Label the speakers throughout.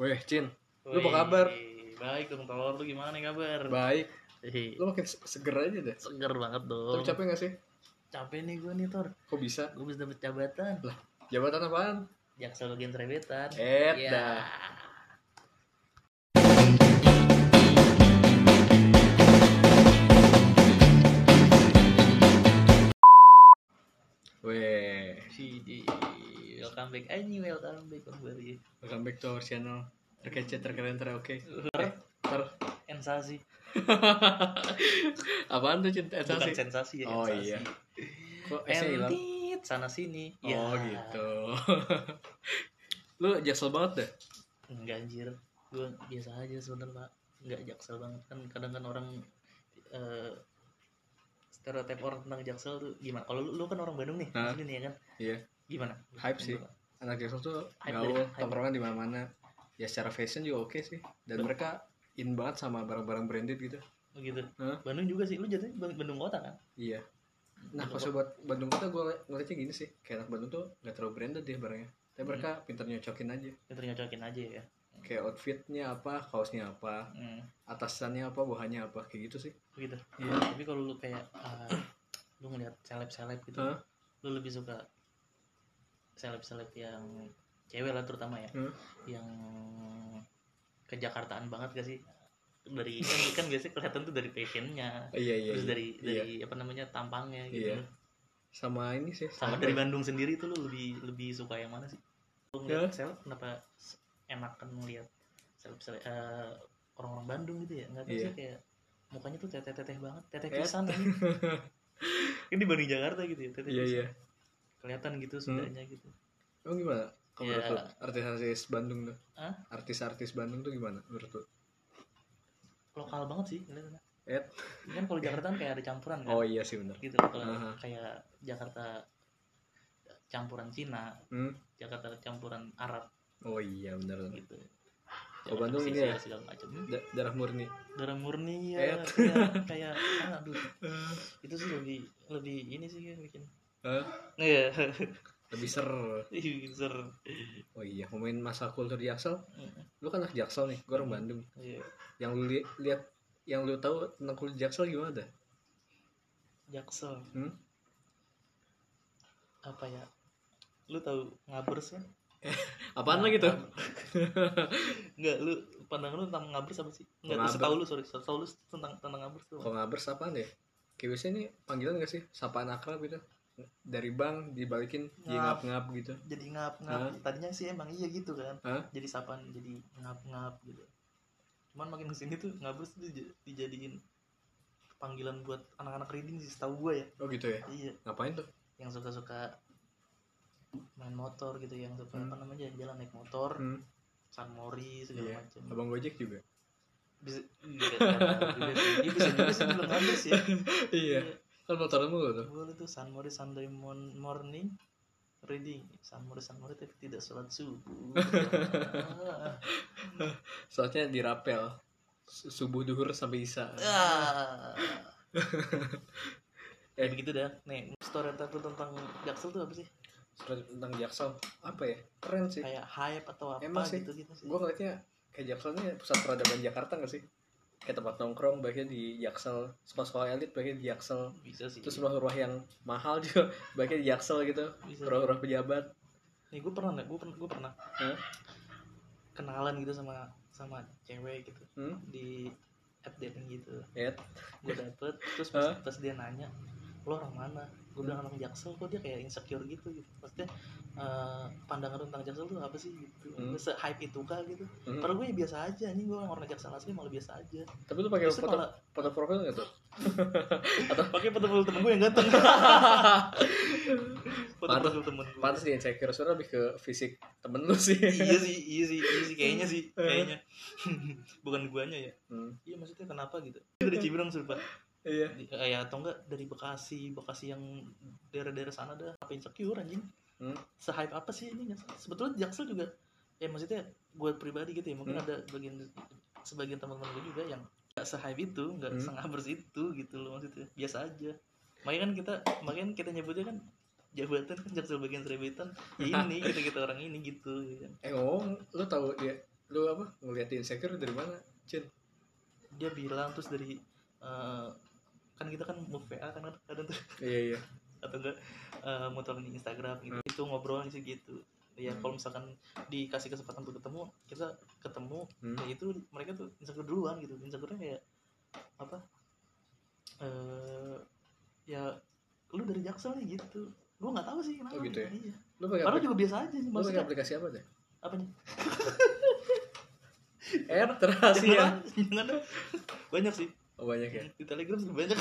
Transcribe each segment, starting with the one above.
Speaker 1: Weh, Cin, Lu apa
Speaker 2: Wih,
Speaker 1: kabar?
Speaker 2: Baik dong, Tor. Lu gimana nih kabar?
Speaker 1: baik.
Speaker 2: Hei,
Speaker 1: Lu makin se- seger aja deh.
Speaker 2: seger banget dong.
Speaker 1: Tapi capek gak sih?
Speaker 2: Capek nih gue nih, Tor.
Speaker 1: Kok bisa?
Speaker 2: Gue bisa dapet jabatan.
Speaker 1: Jabatan apaan?
Speaker 2: Jaksa bagian trebetan.
Speaker 1: Eh,
Speaker 2: Iya.
Speaker 1: dah. Weh,
Speaker 2: Si di welcome back anjing, welcome back kembali.
Speaker 1: welcome back to our channel. Terkece, terkeren, teroke.
Speaker 2: Ter
Speaker 1: Ter...
Speaker 2: sensasi.
Speaker 1: Apaan tuh, Cin? Eh,
Speaker 2: Bukan
Speaker 1: sensasi.
Speaker 2: sensasi ya,
Speaker 1: Oh,
Speaker 2: sensasi.
Speaker 1: iya. Kok S-nya hilang?
Speaker 2: Entit sana sini. Ya.
Speaker 1: Oh, gitu. Lu jaksel banget dah.
Speaker 2: Enggak anjir. Gue biasa aja sebenernya, Pak. Enggak jaksel banget kan. Kadang kan orang eh stereotip orang tentang jaksel tuh gimana? Kalau lu, lu kan orang Bandung nih,
Speaker 1: Hah?
Speaker 2: asli nih ya kan?
Speaker 1: Iya.
Speaker 2: Gimana?
Speaker 1: Hype sih. Anak jaksel tuh
Speaker 2: Hype
Speaker 1: gaul,
Speaker 2: banget, hype.
Speaker 1: tongkrongan di mana-mana. Ya secara fashion juga oke sih. Dan mereka in banget sama barang-barang branded gitu.
Speaker 2: Begitu.
Speaker 1: Hah?
Speaker 2: Bandung juga sih. Lu jatuhnya Ban- Bandung kota kan?
Speaker 1: Iya. Nah,
Speaker 2: Bandung
Speaker 1: pas
Speaker 2: kota.
Speaker 1: buat Bandung kita gue ngeliatnya gini sih, kayak anak Bandung tuh gak terlalu branded ya barangnya. Tapi mereka
Speaker 2: Hmm.
Speaker 1: pintar nyocokin aja.
Speaker 2: Pinter nyocokin aja ya.
Speaker 1: Kayak outfitnya apa, kaosnya apa,
Speaker 2: Hmm.
Speaker 1: atasannya apa, bahannya apa, kayak gitu sih.
Speaker 2: Begitu.
Speaker 1: Iya.
Speaker 2: Tapi kalau lu kayak eh, lu ngeliat seleb-seleb gitu,
Speaker 1: Hah?
Speaker 2: lu lebih suka seleb-seleb yang cewek lah terutama ya.
Speaker 1: Hah?
Speaker 2: Yang kejakartaan banget gak sih? Dari kan, kan biasanya kelihatan tuh dari passionnya.
Speaker 1: Iya, iya.
Speaker 2: Terus
Speaker 1: iya.
Speaker 2: dari
Speaker 1: Iya.
Speaker 2: dari apa namanya tampangnya gitu.
Speaker 1: Iya. sama ini sih.
Speaker 2: Sama dari Bandung sendiri tuh lu lebih lebih suka yang mana sih? Lu ngeliat seleb kenapa s- enakan ngeliat seleb seleb eh, orang-orang Bandung gitu ya? Enggak tahu
Speaker 1: Iya.
Speaker 2: sih kayak mukanya tuh teteh-teteh banget, teteh
Speaker 1: Eh.
Speaker 2: pisan. Ini di Bandung Jakarta gitu ya, teteh
Speaker 1: Iya,
Speaker 2: pisan.
Speaker 1: iya. Hmm.
Speaker 2: Kelihatan gitu sudahnya gitu.
Speaker 1: Emang gimana? Kalau
Speaker 2: Iya.
Speaker 1: menurut lu, artis-artis Bandung tuh?
Speaker 2: Hah?
Speaker 1: Artis-artis Bandung tuh gimana menurut lu?
Speaker 2: Lokal banget sih kelihatannya.
Speaker 1: Eh?
Speaker 2: Kan kalau Jakarta kan kayak ada campuran kan.
Speaker 1: Oh iya sih bener.
Speaker 2: Gitu loh, kalau
Speaker 1: Aha.
Speaker 2: kayak Jakarta campuran Cina,
Speaker 1: Hmm?
Speaker 2: Jakarta campuran Arab
Speaker 1: Oh iya bener.
Speaker 2: gitu.
Speaker 1: Oh,
Speaker 2: Jakarta
Speaker 1: Bandung ini
Speaker 2: pesisir,
Speaker 1: ya?
Speaker 2: segala macam.
Speaker 1: Da- darah murni.
Speaker 2: darah murni ya
Speaker 1: Eh.
Speaker 2: kayak kayak ah, aduh itu sih lebih lebih ini sih yang bikin
Speaker 1: Hah?
Speaker 2: iya
Speaker 1: Lebih ser.
Speaker 2: bikin ser
Speaker 1: Oh iya, ngomongin masa kultur Jaksel,
Speaker 2: Hmm.
Speaker 1: lu kan anak Jaksel nih, gue orang Bandung.
Speaker 2: Iya.
Speaker 1: Yang lu li- lihat, yang lu tahu tentang kultur Jaksel gimana dah?
Speaker 2: jaksel
Speaker 1: Hmm?
Speaker 2: apa ya lu tahu ngabers kan
Speaker 1: Apaan
Speaker 2: Nah,
Speaker 1: lagi tuh?
Speaker 2: ngab- nggak lu pandangan lu tentang ngabers apa sih nggak
Speaker 1: Ngabers.
Speaker 2: setahu lu sorry setahu lu tentang tentang ngabers tuh
Speaker 1: Kalau ngabers apaan ya? Kayak biasanya nih panggilan gak sih? Sapaan akrab gitu. Dari bang dibalikin
Speaker 2: Ngap.
Speaker 1: ngap ngap gitu.
Speaker 2: jadi ngap ngap tadinya sih emang iya gitu kan
Speaker 1: Hah?
Speaker 2: jadi sapaan jadi ngap ngap gitu cuman makin kesini tuh ngabers tuh dij- dijadiin panggilan buat anak-anak reading sih setahu gue ya
Speaker 1: Oh gitu ya.
Speaker 2: iya
Speaker 1: Ngapain tuh?
Speaker 2: yang suka-suka main motor gitu yang suka
Speaker 1: Hmm.
Speaker 2: apa namanya jalan-jalan naik motor
Speaker 1: Hmm.
Speaker 2: San Mori
Speaker 1: Iya.
Speaker 2: segala macam
Speaker 1: Abang Gojek juga.
Speaker 2: bisa iya, nggak tahu juga sih. Iya, bisa juga sih belum habis ya
Speaker 1: iya. Kan motoran mulu tuh.
Speaker 2: boleh tuh San Mori Sunday mon- morning reading San Mori San Mori tapi tidak sholat subuh
Speaker 1: Soalnya dirapel. Su- Subuh duhur sampai isa.
Speaker 2: Ah. ya begitu dah nih story aku tentang Jaksel tuh apa sih
Speaker 1: Surat tentang Jaksel apa ya? Keren sih.
Speaker 2: kayak hype atau apa
Speaker 1: Emang sih.
Speaker 2: gitu gitu sih
Speaker 1: gue ngeliatnya kayak Jaksel ini pusat peradaban Jakarta gak sih? Kayak tempat nongkrong baiknya di Jaksel, sekolah-sekolah elit baiknya di Jaksel,
Speaker 2: bisa sih
Speaker 1: terus rumah-rumah yang mahal juga baiknya di Jaksel gitu,
Speaker 2: bisa
Speaker 1: rumah-rumah pejabat.
Speaker 2: nih gue pernah gue pernah gue pernah
Speaker 1: Hah?
Speaker 2: kenalan gitu sama sama cewek gitu
Speaker 1: Hmm?
Speaker 2: di app dating gitu
Speaker 1: Et,
Speaker 2: gue dapet terus pas,
Speaker 1: Hah?
Speaker 2: pas dia nanya lo orang mana gue bilang orang jaksel kok dia kayak insecure gitu gitu maksudnya eh, pandangan lu tentang jaksel tuh apa sih gitu
Speaker 1: Hmm.
Speaker 2: se hype itu kah gitu
Speaker 1: Hmm.
Speaker 2: padahal gue ya biasa aja ini gue orang jaksel asli malah biasa aja
Speaker 1: tapi lu pakai
Speaker 2: Justru
Speaker 1: foto,
Speaker 2: malah
Speaker 1: foto profil gak tuh?
Speaker 2: pakai foto profil temen gue yang ganteng foto
Speaker 1: Pantes-
Speaker 2: profil temen gue
Speaker 1: Pantes di insecure, sebenernya lebih ke fisik temen lu sih.
Speaker 2: iya sih iya sih iya sih kayaknya sih kayaknya bukan guanya ya
Speaker 1: Hmm,
Speaker 2: iya maksudnya kenapa gitu dari Ciberang sumpah
Speaker 1: Iya.
Speaker 2: Di- eh, ya atau enggak dari Bekasi Bekasi yang daerah-daerah sana dah apa insecure anjing
Speaker 1: Hmm.
Speaker 2: se-hype apa sih ini nggak sih? sebetulnya Jaksel juga ya maksudnya gue pribadi gitu ya mungkin
Speaker 1: Hmm.
Speaker 2: ada bagian sebagian teman-teman gue juga yang nggak se-hype itu nggak
Speaker 1: Hmm.
Speaker 2: sengabers itu gitu loh maksudnya biasa aja makanya kan kita makanya kan kita nyebutnya kan jabatan kan Jaksel bagian seribetan ya ini kita kita orang ini gitu ya kan.
Speaker 1: Eh ngomong, lu tau dia lu apa ngeliat insecure dari mana Cin
Speaker 2: dia bilang terus dari eh, kan kita kan move VA kan kadang tuh
Speaker 1: iya iya
Speaker 2: atau enggak eh, muter di Instagram gitu itu ngobrol sih gitu ya
Speaker 1: Hmm.
Speaker 2: kalau misalkan dikasih kesempatan untuk ketemu kita ketemu
Speaker 1: Hmm.
Speaker 2: ya itu mereka tuh insecure duluan gitu insecure kayak apa eh ya lu dari Jaksel nih gitu gua nggak tahu sih kenapa
Speaker 1: Oh, gitu ya?
Speaker 2: iya.
Speaker 1: lu pakai
Speaker 2: padahal
Speaker 1: aplikasi,
Speaker 2: juga biasa aja sih
Speaker 1: lu pakai
Speaker 2: maksudnya
Speaker 1: aplikasi apa deh
Speaker 2: apa nih
Speaker 1: eh rahasia
Speaker 2: Jangan- jangan dong. banyak sih
Speaker 1: oh banyak ya
Speaker 2: di Telegram sih banyak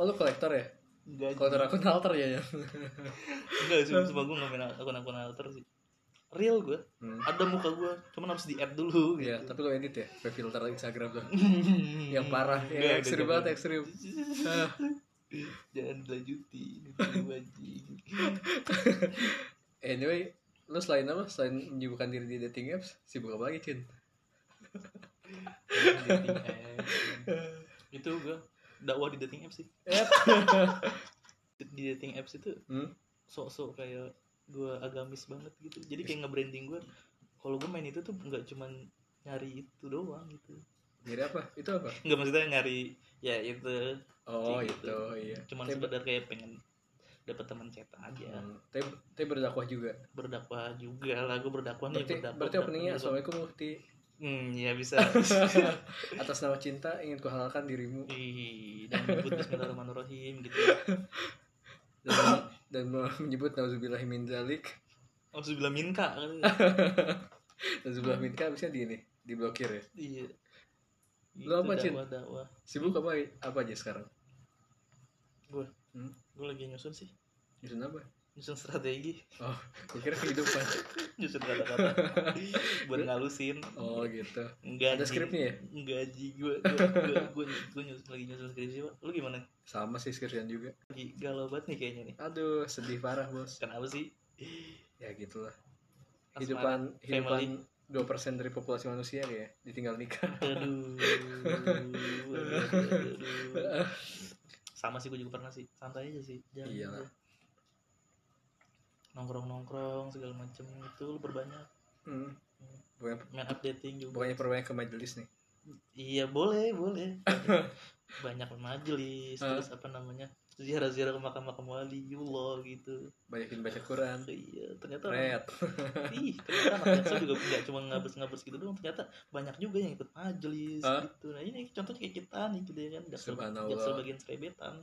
Speaker 1: oh lu kolektor ya
Speaker 2: enggak sih.
Speaker 1: kolektor akun alter ya ya
Speaker 2: enggak sih cuma gue nggak main akun-akun alter sih real gue
Speaker 1: hmm.
Speaker 2: ada muka gue cuman harus di add dulu gitu
Speaker 1: Iya, tapi lu edit ya pakai filter Instagram tuh
Speaker 2: yang
Speaker 1: yang parah
Speaker 2: Nggak,
Speaker 1: yang ekstrim
Speaker 2: nggak,
Speaker 1: banget ekstrim Ah,
Speaker 2: jangan dilanjuti Aduh, anjing.
Speaker 1: anyway lu selain apa selain menyibukkan diri di dating apps sibuk apa lagi Cin
Speaker 2: Dating apps. itu gue dakwah di dating apps sih
Speaker 1: Yap.
Speaker 2: di dating apps itu
Speaker 1: Hmm?
Speaker 2: sok-sok kayak gue agamis banget gitu jadi kayak nge-branding gue kalau gue main itu tuh nggak cuman nyari itu doang gitu
Speaker 1: Jadi apa? Itu apa?
Speaker 2: nggak maksudnya nyari ya itu
Speaker 1: Oh,
Speaker 2: Kayak
Speaker 1: itu,
Speaker 2: gitu.
Speaker 1: iya.
Speaker 2: cuman ya.
Speaker 1: Tapi-
Speaker 2: sekedar kayak pengen dapat teman cetak aja
Speaker 1: Hmm, tapi, tapi berdakwah juga.
Speaker 2: berdakwah juga lah gue berdakwah nih
Speaker 1: Berarti,
Speaker 2: berdakwah
Speaker 1: berarti
Speaker 2: berdakwah
Speaker 1: openingnya
Speaker 2: juga.
Speaker 1: Assalamualaikum Mufti
Speaker 2: hmm ya bisa
Speaker 1: Atas nama cinta ingin kuhalalkan dirimu
Speaker 2: Ih, dan menyebut Bismillahirrahmanirrahim gitu
Speaker 1: Dan, dan menyebut Nauzubillah min zalik
Speaker 2: harus bilang minta kan
Speaker 1: Nauzubillah min ka abisnya di ini Diblokir ya
Speaker 2: iya Gitu,
Speaker 1: Lu apa, Cin?
Speaker 2: dakwah dakwah
Speaker 1: Sibuk apa, apa aja sekarang?
Speaker 2: gue lagi nyusun sih
Speaker 1: Nyusun apa?
Speaker 2: nyusun strategi
Speaker 1: Oh, gue kira kehidupan
Speaker 2: nyusun kata-kata buat ngalusin
Speaker 1: Oh gitu
Speaker 2: Enggak
Speaker 1: Ada skripnya ya?
Speaker 2: Enggak Ji. Gue gue gue gue nyusun lagi nyusun skripsi. Pak. Lu gimana?
Speaker 1: Sama sih skripsian juga
Speaker 2: Lagi galau banget nih kayaknya nih.
Speaker 1: Aduh, sedih parah bos
Speaker 2: Kenapa sih?
Speaker 1: Ya gitulah
Speaker 2: Asmara.
Speaker 1: Hidupan,
Speaker 2: Family.
Speaker 1: hidupan 2% dari populasi manusia ya Ditinggal nikah
Speaker 2: Aduh. aduh, aduh, aduh. Sama sih gue juga pernah sih. Santai aja sih. Jangan
Speaker 1: Iya lah.
Speaker 2: Nongkrong-nongkrong segala macem itu lu perbanyak.
Speaker 1: hmm. Bukannya,
Speaker 2: Main updating juga.
Speaker 1: bukannya perbanyak ke majelis nih
Speaker 2: Iya, boleh, boleh. Banyak majelis,
Speaker 1: Hah?
Speaker 2: terus apa namanya? Ziarah-ziarah ke makam-makam waliullah gitu.
Speaker 1: Banyakin baca Quran
Speaker 2: Iya, ternyata orang-
Speaker 1: Red
Speaker 2: Ih, ternyata anak Jaksel juga nggak cuma ngabers-ngabers gitu doang, ternyata banyak juga yang ikut majelis
Speaker 1: Hah?
Speaker 2: gitu. Nah, ini contohnya kayak kita nih gitu ya kan, Jaksel,
Speaker 1: Subhanallah.
Speaker 2: Jaksel bagian selebetan.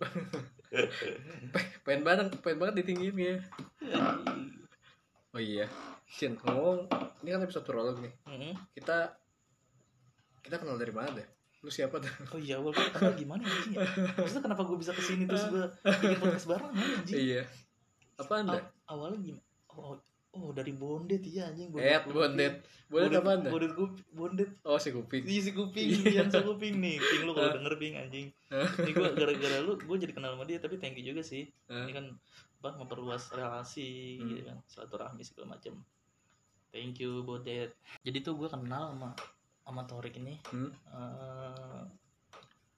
Speaker 1: pengen banget pengen banget ditinggiin ya
Speaker 2: Iya.
Speaker 1: oh iya Cin ngomong ini kan episode prolog nih
Speaker 2: Heeh.
Speaker 1: kita kita kenal dari mana deh lu siapa tuh
Speaker 2: Oh iya, awal gua kenal gimana anjing ya? Maksudnya kenapa gue bisa kesini terus gue bikin podcast bareng anjing?
Speaker 1: iya apa anda
Speaker 2: Aw- awalnya gimana? Oh, oh, dari Bondet iya anjing.
Speaker 1: Eh, bondet bondet apa anda
Speaker 2: Bondet gue Bondet
Speaker 1: oh si kuping
Speaker 2: Iya si kuping, Dian si kuping nih. Ping lu kalau denger ping anjing.
Speaker 1: Iya.
Speaker 2: Ini gue gara-gara lu gue jadi kenal sama dia tapi thank you juga sih.
Speaker 1: Hah?
Speaker 2: Ini kan apa memperluas
Speaker 1: Iya.
Speaker 2: relasi
Speaker 1: Hmm.
Speaker 2: gitu kan, silaturahmi segala macam. Thank you Bodet. Jadi tuh gue kenal sama sama Torik ini.
Speaker 1: Hmm?
Speaker 2: Eh,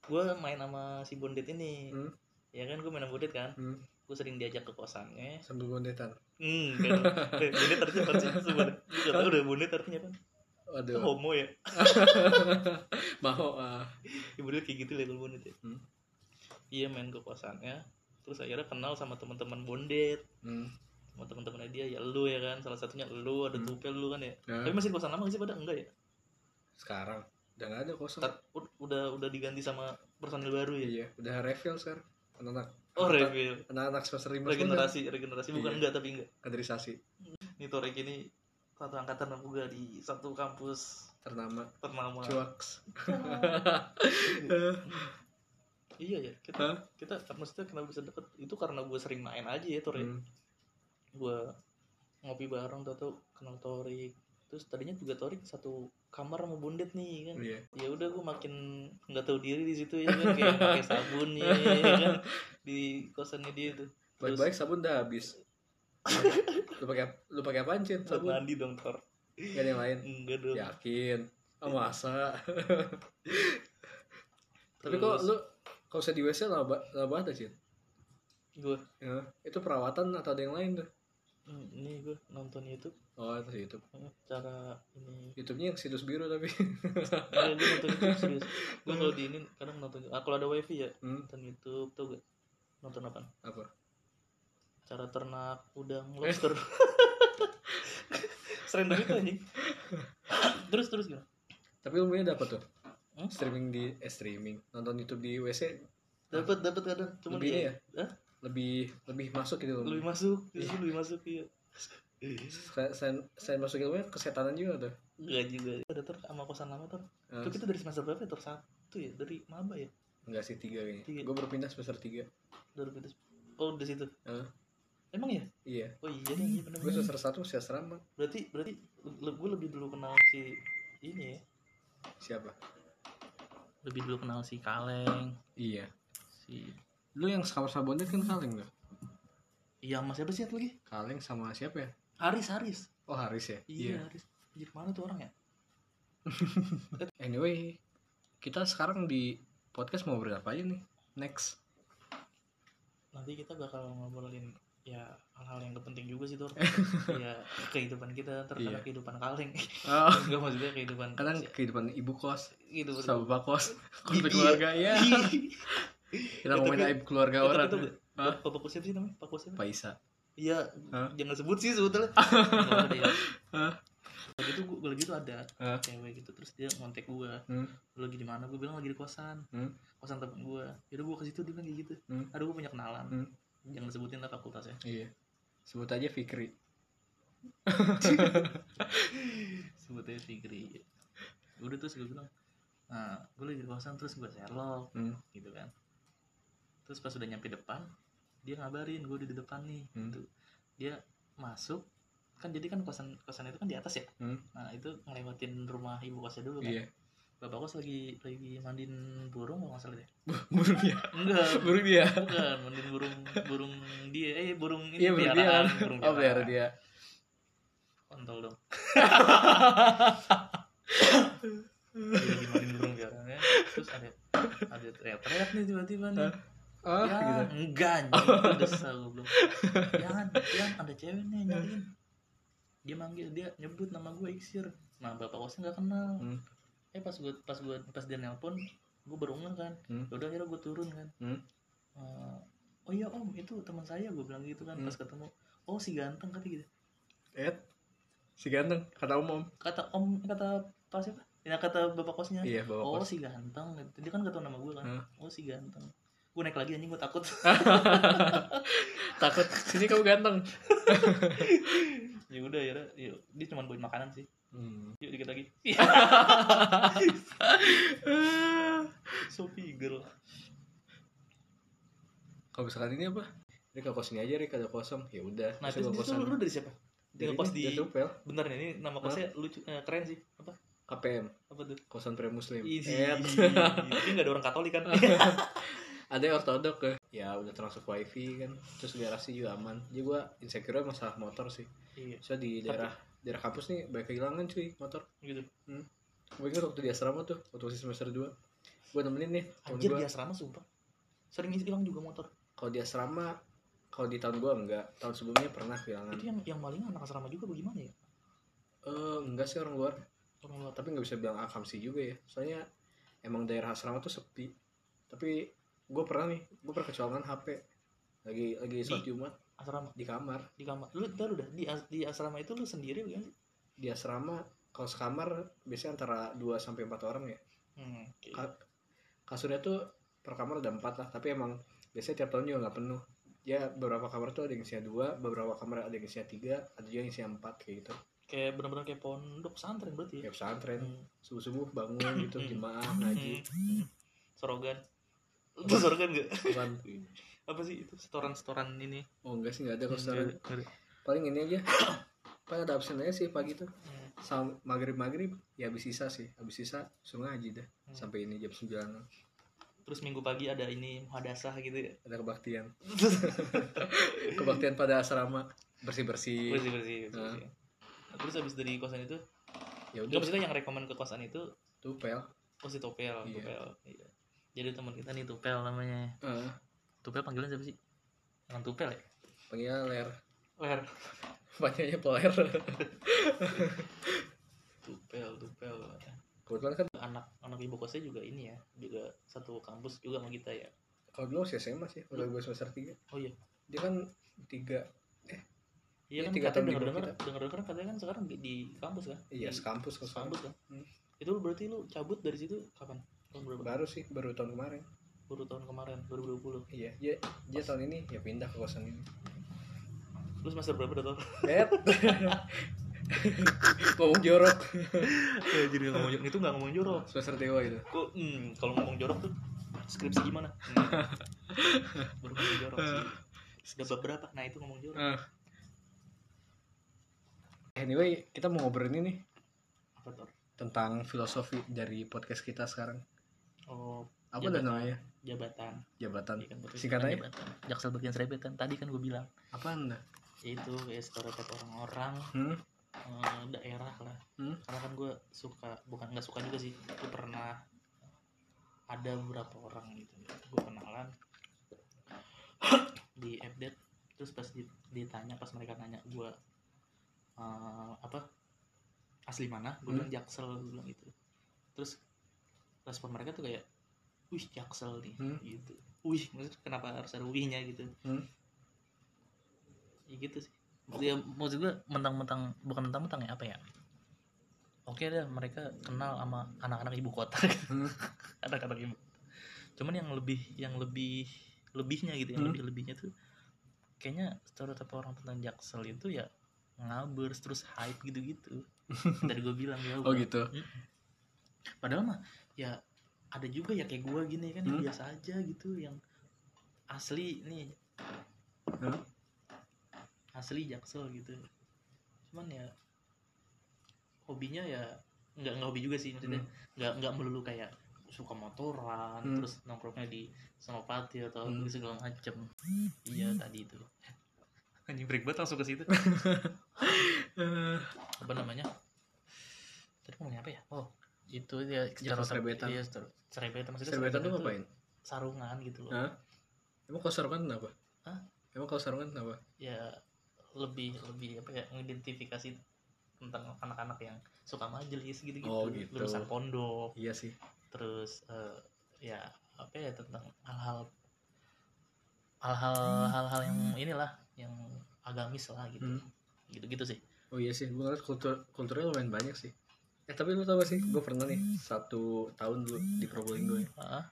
Speaker 2: gue main sama si Bondet ini.
Speaker 1: Hmm?
Speaker 2: Ya kan gue main sama Bondet kan.
Speaker 1: Hmm,
Speaker 2: Gue sering diajak ke kosannya.
Speaker 1: sambil bondetan
Speaker 2: Hmm, kan. Eh, Bondet artinya apa sih sebenarnya? Gue gak tau udah Bondet artinya apa. Itu
Speaker 1: waduh
Speaker 2: homo ya.
Speaker 1: mau ah.
Speaker 2: ibu dia kayak gitu label bondet ya
Speaker 1: Hmm.
Speaker 2: iya main ke kosannya terus akhirnya kenal sama teman-teman bondet
Speaker 1: Hmm.
Speaker 2: sama teman-temannya dia ya lu ya kan salah satunya lu ada
Speaker 1: Hmm.
Speaker 2: tupel lu kan ya
Speaker 1: Nah,
Speaker 2: tapi masih di kosan lama nggak sih pada enggak ya
Speaker 1: sekarang udah nggak ada kosong
Speaker 2: Tar- ud- udah udah diganti sama personil baru ya
Speaker 1: iya udah refill sekarang anak-anak
Speaker 2: oh
Speaker 1: anak-
Speaker 2: refill
Speaker 1: anak-anak semester lima semua udah
Speaker 2: regenerasi regenerasi bukan
Speaker 1: Iya.
Speaker 2: enggak tapi enggak
Speaker 1: kaderisasi
Speaker 2: ini Torek ini satu angkatan sama gue di satu kampus
Speaker 1: ternama
Speaker 2: ternama
Speaker 1: cuaks
Speaker 2: iya ya kita
Speaker 1: Hah?
Speaker 2: kita maksudnya kenapa bisa deket itu karena gue sering main aja ya Torek
Speaker 1: Hmm.
Speaker 2: gue ngopi bareng tau tau kenal Torik terus tadinya juga Torik satu kamar sama Bundet nih kan
Speaker 1: iya
Speaker 2: ya udah gue makin nggak tahu diri di situ ya kan kayak pakai sabun ya, kan di kosannya dia tuh Terus-
Speaker 1: Baik-baik sabun udah habis. lu pakai lu pakai apaan, Cin?
Speaker 2: buat
Speaker 1: Sabun. Ya,
Speaker 2: mandi dong Tor
Speaker 1: Gak ada yang lain.
Speaker 2: enggak dong
Speaker 1: Yakin. Ah, masa. Tapi
Speaker 2: Terus-
Speaker 1: kok lu kalau usah di WC lama ba- lama banget, ya, Cin.
Speaker 2: gue
Speaker 1: Ya, itu perawatan atau ada yang lain tuh?
Speaker 2: Hmm, ini gue nonton YouTube
Speaker 1: Oh, itu YouTube.
Speaker 2: hmm, cara ini
Speaker 1: YouTube-nya yang situs biru tapi.
Speaker 2: Iya, gue nonton YouTube serius gue kalau di ini kadang nonton ah, kalau ada wifi ya
Speaker 1: Hmm,
Speaker 2: nonton YouTube tuh gue nonton apa
Speaker 1: apa?
Speaker 2: cara ternak udang lobster serendam itu anjing terus terus gimana
Speaker 1: Tapi ilmunya dapat tuh.
Speaker 2: Hmm?
Speaker 1: Streaming di eh, streaming. Nonton YouTube di WC
Speaker 2: dapat dapat kadang cuman iya.
Speaker 1: Lebih ini ya?
Speaker 2: Hah?
Speaker 1: lebih lebih masuk gitu
Speaker 2: lebih
Speaker 1: ilmu.
Speaker 2: masuk
Speaker 1: Iya.
Speaker 2: lebih masuk iya
Speaker 1: Selain- Selain selain masuk ilmunya kesetanan juga tuh.
Speaker 2: Enggak juga ada ter sama kosan lama ter
Speaker 1: Eh,
Speaker 2: itu kita dari semester berapa ya ter satu ya dari maba ya
Speaker 1: enggak sih tiga kayaknya.
Speaker 2: Tiga.
Speaker 1: Gue berpindah semester tiga.
Speaker 2: dari itu oh di situ
Speaker 1: Heeh.
Speaker 2: emang ya
Speaker 1: Iya.
Speaker 2: oh iya nih iya bener
Speaker 1: Gue semester satu masih asrama.
Speaker 2: berarti berarti gue lebih dulu kenal si ini ya
Speaker 1: Siapa?
Speaker 2: lebih dulu kenal si kaleng
Speaker 1: Iya.
Speaker 2: si
Speaker 1: Lu yang sama sama Bondet kan kaleng tuh.
Speaker 2: iya sama siapa sih satu lagi
Speaker 1: Kaleng sama siapa ya?
Speaker 2: Haris Haris
Speaker 1: Oh Haris ya.
Speaker 2: iya Haris Anjir, mana tuh orang ya
Speaker 1: Anyway, kita sekarang di podcast mau berapa aja nih? Next.
Speaker 2: nanti kita bakal ngobrolin ya hal-hal yang gak penting juga sih tuh ya kehidupan kita terkadang
Speaker 1: Iya.
Speaker 2: kehidupan kaleng
Speaker 1: Oh,
Speaker 2: Enggak maksudnya kehidupan
Speaker 1: kadang kehidupan ibu kos,
Speaker 2: gitu
Speaker 1: sama bapak kos,
Speaker 2: Iya.
Speaker 1: konflik keluarga ya. Kita
Speaker 2: Itu
Speaker 1: ngomongin
Speaker 2: gue-
Speaker 1: aib keluarga
Speaker 2: Itu-
Speaker 1: orang.
Speaker 2: itu gue-
Speaker 1: Hah?
Speaker 2: Pak Paku siapa ya? sih namanya? Pak Paku siapa?
Speaker 1: Paisa.
Speaker 2: Iya,
Speaker 1: Hah?
Speaker 2: jangan sebut sih sebetulnya. Nggak ada ya. gitu
Speaker 1: Hah?
Speaker 2: Lagi itu gue lagi tuh ada
Speaker 1: Hah?
Speaker 2: cewek gitu terus dia ngontek gue.
Speaker 1: Hmm.
Speaker 2: Lu lagi di mana? Gue bilang lagi di kosan.
Speaker 1: Hmm.
Speaker 2: Kosan temen gue. Yaudah gue ke situ dia bilang kayak gitu.
Speaker 1: Hmm.
Speaker 2: Aduh gue punya kenalan.
Speaker 1: Hmm.
Speaker 2: Jangan sebutin lah fakultasnya.
Speaker 1: Iya. Sebut aja Fikri.
Speaker 2: Sebutnya Fikri. Udah terus gue bilang, nah gue lagi di kosan terus gue serlok.
Speaker 1: Hmm.
Speaker 2: gitu kan terus pas udah nyampe depan dia ngabarin gue udah di depan nih
Speaker 1: Hmm.
Speaker 2: gitu dia masuk kan jadi kan kosan kosan itu kan di atas ya
Speaker 1: Hmm.
Speaker 2: nah itu ngelewatin rumah ibu kosnya dulu kan
Speaker 1: Iya.
Speaker 2: bapak kos lagi lagi mandiin burung kalau nggak salah deh
Speaker 1: Burung dia.
Speaker 2: enggak
Speaker 1: Burung dia.
Speaker 2: bukan mandiin burung burung dia eh burung ini
Speaker 1: Iya, burung dia.
Speaker 2: peliharaan, burung
Speaker 1: Oh, biar
Speaker 2: peliharaan.
Speaker 1: dia.
Speaker 2: kontol dong Dia lagi mandiin burung piaraan ya. terus ada ada teriak-teriak nih tiba-tiba nih
Speaker 1: Oh,
Speaker 2: ya,
Speaker 1: gitu.
Speaker 2: enggak anjing itu desa goblok jangan jangan ada cewek nih nyariin dia manggil dia nyebut nama gue iksir nah bapak kosnya nggak kenal
Speaker 1: Hmm.
Speaker 2: eh pas gue pas gue pas dia nelpon gue baru ngeh kan
Speaker 1: Hmm.
Speaker 2: udah akhirnya gue turun kan
Speaker 1: Hmm.
Speaker 2: Eh, oh iya om itu teman saya gue bilang gitu kan
Speaker 1: Hmm.
Speaker 2: pas ketemu oh si ganteng kata gitu
Speaker 1: Ed. Si ganteng kata umum.
Speaker 2: kata om kata pas siapa ya kata bapak kosnya
Speaker 1: Iya, bapak
Speaker 2: oh
Speaker 1: kos.
Speaker 2: si ganteng gitu. dia kan gak tau nama gue kan
Speaker 1: Hmm.
Speaker 2: oh si ganteng gue naik lagi anjing gue takut
Speaker 1: Takut. Sini kamu ganteng.
Speaker 2: ya udah ya yuk dia cuma buat makanan sih
Speaker 1: Hmm.
Speaker 2: yuk dikit lagi
Speaker 1: Ah.
Speaker 2: Sophie girl
Speaker 1: Kalau misalkan ini apa? Ini ke kos ini aja, Rik, ada kosong. Ya udah,
Speaker 2: nah
Speaker 1: masuk
Speaker 2: terus
Speaker 1: ke
Speaker 2: itu
Speaker 1: kosan.
Speaker 2: lu, lu dari siapa
Speaker 1: Dari
Speaker 2: Dia kos
Speaker 1: ini,
Speaker 2: di
Speaker 1: dari Tupel,
Speaker 2: bentar nih ini nama kosnya lucu eh, keren sih apa
Speaker 1: KPM,
Speaker 2: apa tuh
Speaker 1: kosan pre muslim.
Speaker 2: Easy.
Speaker 1: Eh,
Speaker 2: Ini nggak ada orang Katolik kan?
Speaker 1: Iya. ada yang ortodok ya. Ya udah termasuk wifi kan. Terus garasi juga aman. Jadi gua insecure masalah motor sih.
Speaker 2: Iya,
Speaker 1: Soalnya di daerah daerah kampus nih banyak kehilangan cuy motor.
Speaker 2: gitu.
Speaker 1: Gue ingat waktu di asrama tuh, waktu masih semester 2 Gue nemenin nih, temen
Speaker 2: Anjir
Speaker 1: gua.
Speaker 2: di asrama sumpah. Sering hilang juga motor.
Speaker 1: Kalau di asrama, kalau di tahun gua enggak, tahun sebelumnya pernah kehilangan.
Speaker 2: Itu yang yang maling anak asrama juga bagaimana ya?
Speaker 1: Eh enggak sih orang luar,
Speaker 2: Orang luar.
Speaker 1: tapi nggak bisa bilang akamsi juga ya. Soalnya emang daerah asrama tuh sepi. Tapi gue pernah nih, gue pernah kecolongan HP lagi lagi sholat Jumat
Speaker 2: Asrama
Speaker 1: di kamar
Speaker 2: di kamar. Lu ntar udah di as- di asrama itu lu sendiri ya? bukan sih?
Speaker 1: di asrama kalau sekamar biasanya antara 2 sampai 4 orang ya
Speaker 2: Hmm. oke.
Speaker 1: Ka- kasurnya tuh per kamar ada 4 lah tapi emang biasanya tiap tahun juga nggak penuh ya beberapa kamar tuh ada yang isinya dua beberapa kamar ada yang isinya tiga ada juga yang isinya empat kayak gitu
Speaker 2: Kayak benar-benar kayak pondok pesantren berarti ya.
Speaker 1: ya pesantren
Speaker 2: Hmm.
Speaker 1: subuh subuh bangun gitu
Speaker 2: Hmm.
Speaker 1: jemaah ngaji
Speaker 2: Hmm. Sorogan. Lu sorogan gak?
Speaker 1: Cuman,
Speaker 2: Apa sih itu setoran-setoran
Speaker 1: gitu
Speaker 2: ini?
Speaker 1: kan.
Speaker 2: Hmm.
Speaker 1: oh enggak sih nggak ada
Speaker 2: Nggak
Speaker 1: kosan
Speaker 2: ada, nggak ada.
Speaker 1: paling ini aja paling ada absen aja sih pagi tuh
Speaker 2: Hmm.
Speaker 1: sama maghrib maghrib ya habis sisa sih habis sisa langsung ngaji dah
Speaker 2: Hmm.
Speaker 1: sampai ini jam 9
Speaker 2: Terus minggu pagi ada ini muhadasah gitu ya.
Speaker 1: ada kebaktian kebaktian pada asrama bersih bersih
Speaker 2: bersih bersih, bersih,
Speaker 1: Nah.
Speaker 2: bersih. Nah, terus abis dari kosan itu
Speaker 1: ya
Speaker 2: nggak
Speaker 1: udah
Speaker 2: maksudnya yang rekomen ke kosan itu
Speaker 1: tuh pel
Speaker 2: oh si topel
Speaker 1: Iya.
Speaker 2: topel iya. jadi teman kita nih topel namanya
Speaker 1: Eh,
Speaker 2: topel panggilan siapa sih emang topel ya
Speaker 1: panggilnya ler
Speaker 2: Ler.
Speaker 1: Banyaknya player.
Speaker 2: Tupel, tupel.
Speaker 1: Kebetulan kan
Speaker 2: Anak anak ibu kosnya juga ini ya, juga satu kampus juga sama kita ya.
Speaker 1: kalau dulu masih SMA sih, udah gue semester 3.
Speaker 2: Oh iya.
Speaker 1: Dia kan tiga Iya,
Speaker 2: Iya kan
Speaker 1: tiga
Speaker 2: katanya
Speaker 1: tahun di
Speaker 2: denger
Speaker 1: bawah
Speaker 2: dengar denger dengar katanya kan sekarang di, di kampus kan?
Speaker 1: iya
Speaker 2: di,
Speaker 1: sekampus ke
Speaker 2: kampus kan.
Speaker 1: Hmm.
Speaker 2: Itu lu berarti lu cabut dari situ kapan? Tahun berapa?
Speaker 1: Baru sih, baru tahun kemarin.
Speaker 2: Baru tahun kemarin 2020.
Speaker 1: Iya, dia, dia tahun ini ya pindah ke kosan ini.
Speaker 2: Lu semester berapa udah tau?
Speaker 1: Bet. Ngomong jorok.
Speaker 2: ya, jadi ngomong jorok itu nggak ngomong jorok.
Speaker 1: Semester dewa gitu.
Speaker 2: Kok hmm, kalau ngomong jorok tuh skripsi gimana? Hmm. Baru ngomong jorok sih. Sudah bab berapa? Nah itu ngomong jorok.
Speaker 1: Anyway, kita mau ngobrolin ini nih
Speaker 2: Apa tuh?
Speaker 1: tentang filosofi dari podcast kita sekarang.
Speaker 2: Oh
Speaker 1: Apa
Speaker 2: Jabatan.
Speaker 1: dan namanya?
Speaker 2: jabatan.
Speaker 1: Jabatan.
Speaker 2: Iya kan, berarti
Speaker 1: Singkatannya?
Speaker 2: jabatan. Jaksel bagian Serebet kan tadi kan gue bilang
Speaker 1: Apaan dah?
Speaker 2: yaitu kayak stereotip orang-orang
Speaker 1: Hmm?
Speaker 2: eh, daerah lah
Speaker 1: Hmm?
Speaker 2: karena kan gue suka bukan nggak suka juga sih gue pernah ada beberapa orang gitu gue kenalan di update terus pas di- ditanya pas mereka nanya gue eh, apa asli mana gue
Speaker 1: Hmm?
Speaker 2: bilang jaksel gue bilang gitu terus respon mereka tuh kayak wih jaksel nih
Speaker 1: Hmm?
Speaker 2: gitu wih maksudnya kenapa harus ada wihnya gitu
Speaker 1: Hmm?
Speaker 2: ya gitu sih ya maksud gue mentang-mentang bukan mentang-mentang ya apa ya oke deh mereka kenal sama anak-anak ibu kota gitu.
Speaker 1: Hmm.
Speaker 2: anak-anak ibu kota. cuman yang lebih yang lebih lebihnya gitu yang
Speaker 1: Hmm.
Speaker 2: lebih lebihnya tuh kayaknya stereotip orang tentang jaksel itu ya ngabers terus hype gitu-gitu dari gue bilang ya
Speaker 1: Oh gitu.
Speaker 2: padahal mah ya ada juga ya kayak gue gini kan yang
Speaker 1: Hmm.
Speaker 2: biasa aja gitu yang asli nih
Speaker 1: Hmm.
Speaker 2: asli jaksel gitu cuman ya hobinya ya nggak nggak hobi juga sih maksudnya nggak nggak melulu kayak suka motoran
Speaker 1: Hmm.
Speaker 2: terus nongkrongnya di Senopati atau
Speaker 1: Hmm.
Speaker 2: di segala macem iya tadi itu anjing break banget langsung ke situ
Speaker 1: Eh,
Speaker 2: apa namanya tadi mau ngomongin apa ya oh itu ya
Speaker 1: Jaksel serebetan.
Speaker 2: iya ser- serebetan maksudnya
Speaker 1: Serbetan tuh ngapain?
Speaker 2: sarungan gitu loh
Speaker 1: Hah? Emang kalau sarungan kenapa?
Speaker 2: Hah?
Speaker 1: Emang kalau sarungan kenapa?
Speaker 2: ya lebih lebih apa ya mengidentifikasi tentang anak-anak yang suka majelis gitu gitu,
Speaker 1: Oh, gitu.
Speaker 2: lulusan pondok
Speaker 1: Iya sih.
Speaker 2: terus eh, ya apa ya tentang hal-hal hal-hal hal-hal yang inilah yang agamis lah gitu
Speaker 1: Hmm.
Speaker 2: gitu-gitu sih
Speaker 1: Oh iya sih, gue ngeliat kultur kulturnya lumayan banyak sih. Eh tapi lu tau gak sih, gue pernah nih satu tahun dulu di Probolinggo ya.
Speaker 2: Heeh.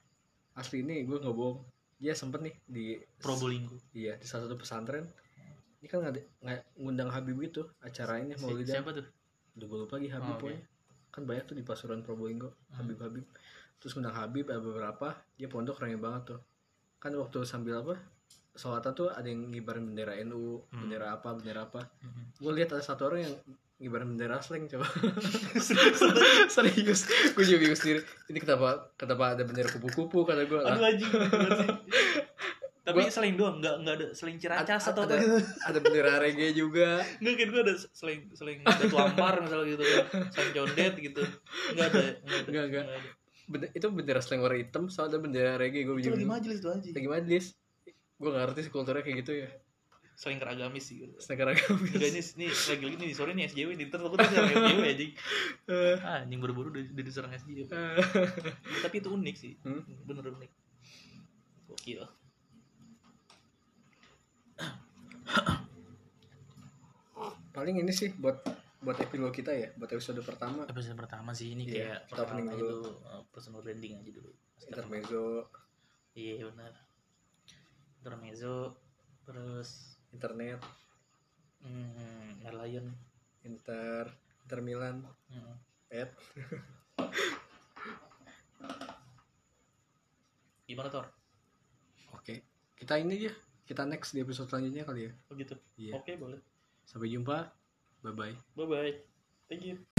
Speaker 1: Asli ini gue nggak bohong. Dia sempet nih di
Speaker 2: Probolinggo
Speaker 1: iya di salah satu pesantren. Ini kan ngade- nggak ngundang Habib gitu acara ini
Speaker 2: Si-
Speaker 1: maulidan.
Speaker 2: siapa tuh
Speaker 1: Udah gue lupa lagi Habib
Speaker 2: Oh, oke.
Speaker 1: pokoknya. Kan banyak tuh di Pasuruan Probolinggo,
Speaker 2: Hmm.
Speaker 1: Habib Habib. Terus ngundang Habib ada beberapa, dia pondok rame banget tuh. Kan waktu sambil apa? Sholatan tuh ada yang ngibarin bendera NU,
Speaker 2: Hmm.
Speaker 1: bendera apa, bendera apa.
Speaker 2: Mhm.
Speaker 1: Gue lihat ada satu orang yang ngibarin bendera slang coba.
Speaker 2: Serius, serius.
Speaker 1: serius gue juga bingung sendiri ini kenapa kenapa ada bendera kupu-kupu kata gue lah
Speaker 2: aduh anjing bener sih. tapi
Speaker 1: Gua-
Speaker 2: selain doang nggak nggak ada selain ciracas
Speaker 1: Ada-
Speaker 2: atau apa
Speaker 1: ada-
Speaker 2: gitu
Speaker 1: ada bendera reggae juga
Speaker 2: Nggak kan gue ada selain selain batu ampar misalnya gitu ya. Selain condet gitu. Nggak ada.
Speaker 1: Nggak, nggak.
Speaker 2: ada.
Speaker 1: Bende- itu bendera slang warna hitam sama ada bendera reggae gue
Speaker 2: Itu
Speaker 1: bingung
Speaker 2: lagi majelis tuh aja.
Speaker 1: lagi majelis gue gak ngerti sih kulturnya kayak gitu ya
Speaker 2: Selain keragamis sih gitu.
Speaker 1: sekarang agamis
Speaker 2: Enggak nih, nih lagi lagi nih sore nih SJW di ntar takutnya serang SJW anjing.
Speaker 1: Eh,
Speaker 2: Ah, anjing buru-buru udah, udah diserang SJW. Tapi itu unik sih.
Speaker 1: Hmm.
Speaker 2: Bener unik. Gokil.
Speaker 1: paling ini sih buat buat epilog kita ya buat episode pertama
Speaker 2: Episode pertama sih ini
Speaker 1: Iya,
Speaker 2: kayak
Speaker 1: kita opening
Speaker 2: perkenalan aja
Speaker 1: dulu.
Speaker 2: dulu eh, personal branding aja dulu.
Speaker 1: intermezzo
Speaker 2: Iya benar. Intermezzo terus
Speaker 1: internet
Speaker 2: hmm, Merlion
Speaker 1: inter inter Milan
Speaker 2: hmm.
Speaker 1: at
Speaker 2: gimana Tor?
Speaker 1: oke kita ini ya kita next di episode selanjutnya kali ya
Speaker 2: Oh gitu.
Speaker 1: iya
Speaker 2: Oke, boleh.
Speaker 1: sampai jumpa bye bye
Speaker 2: Bye bye. Thank you.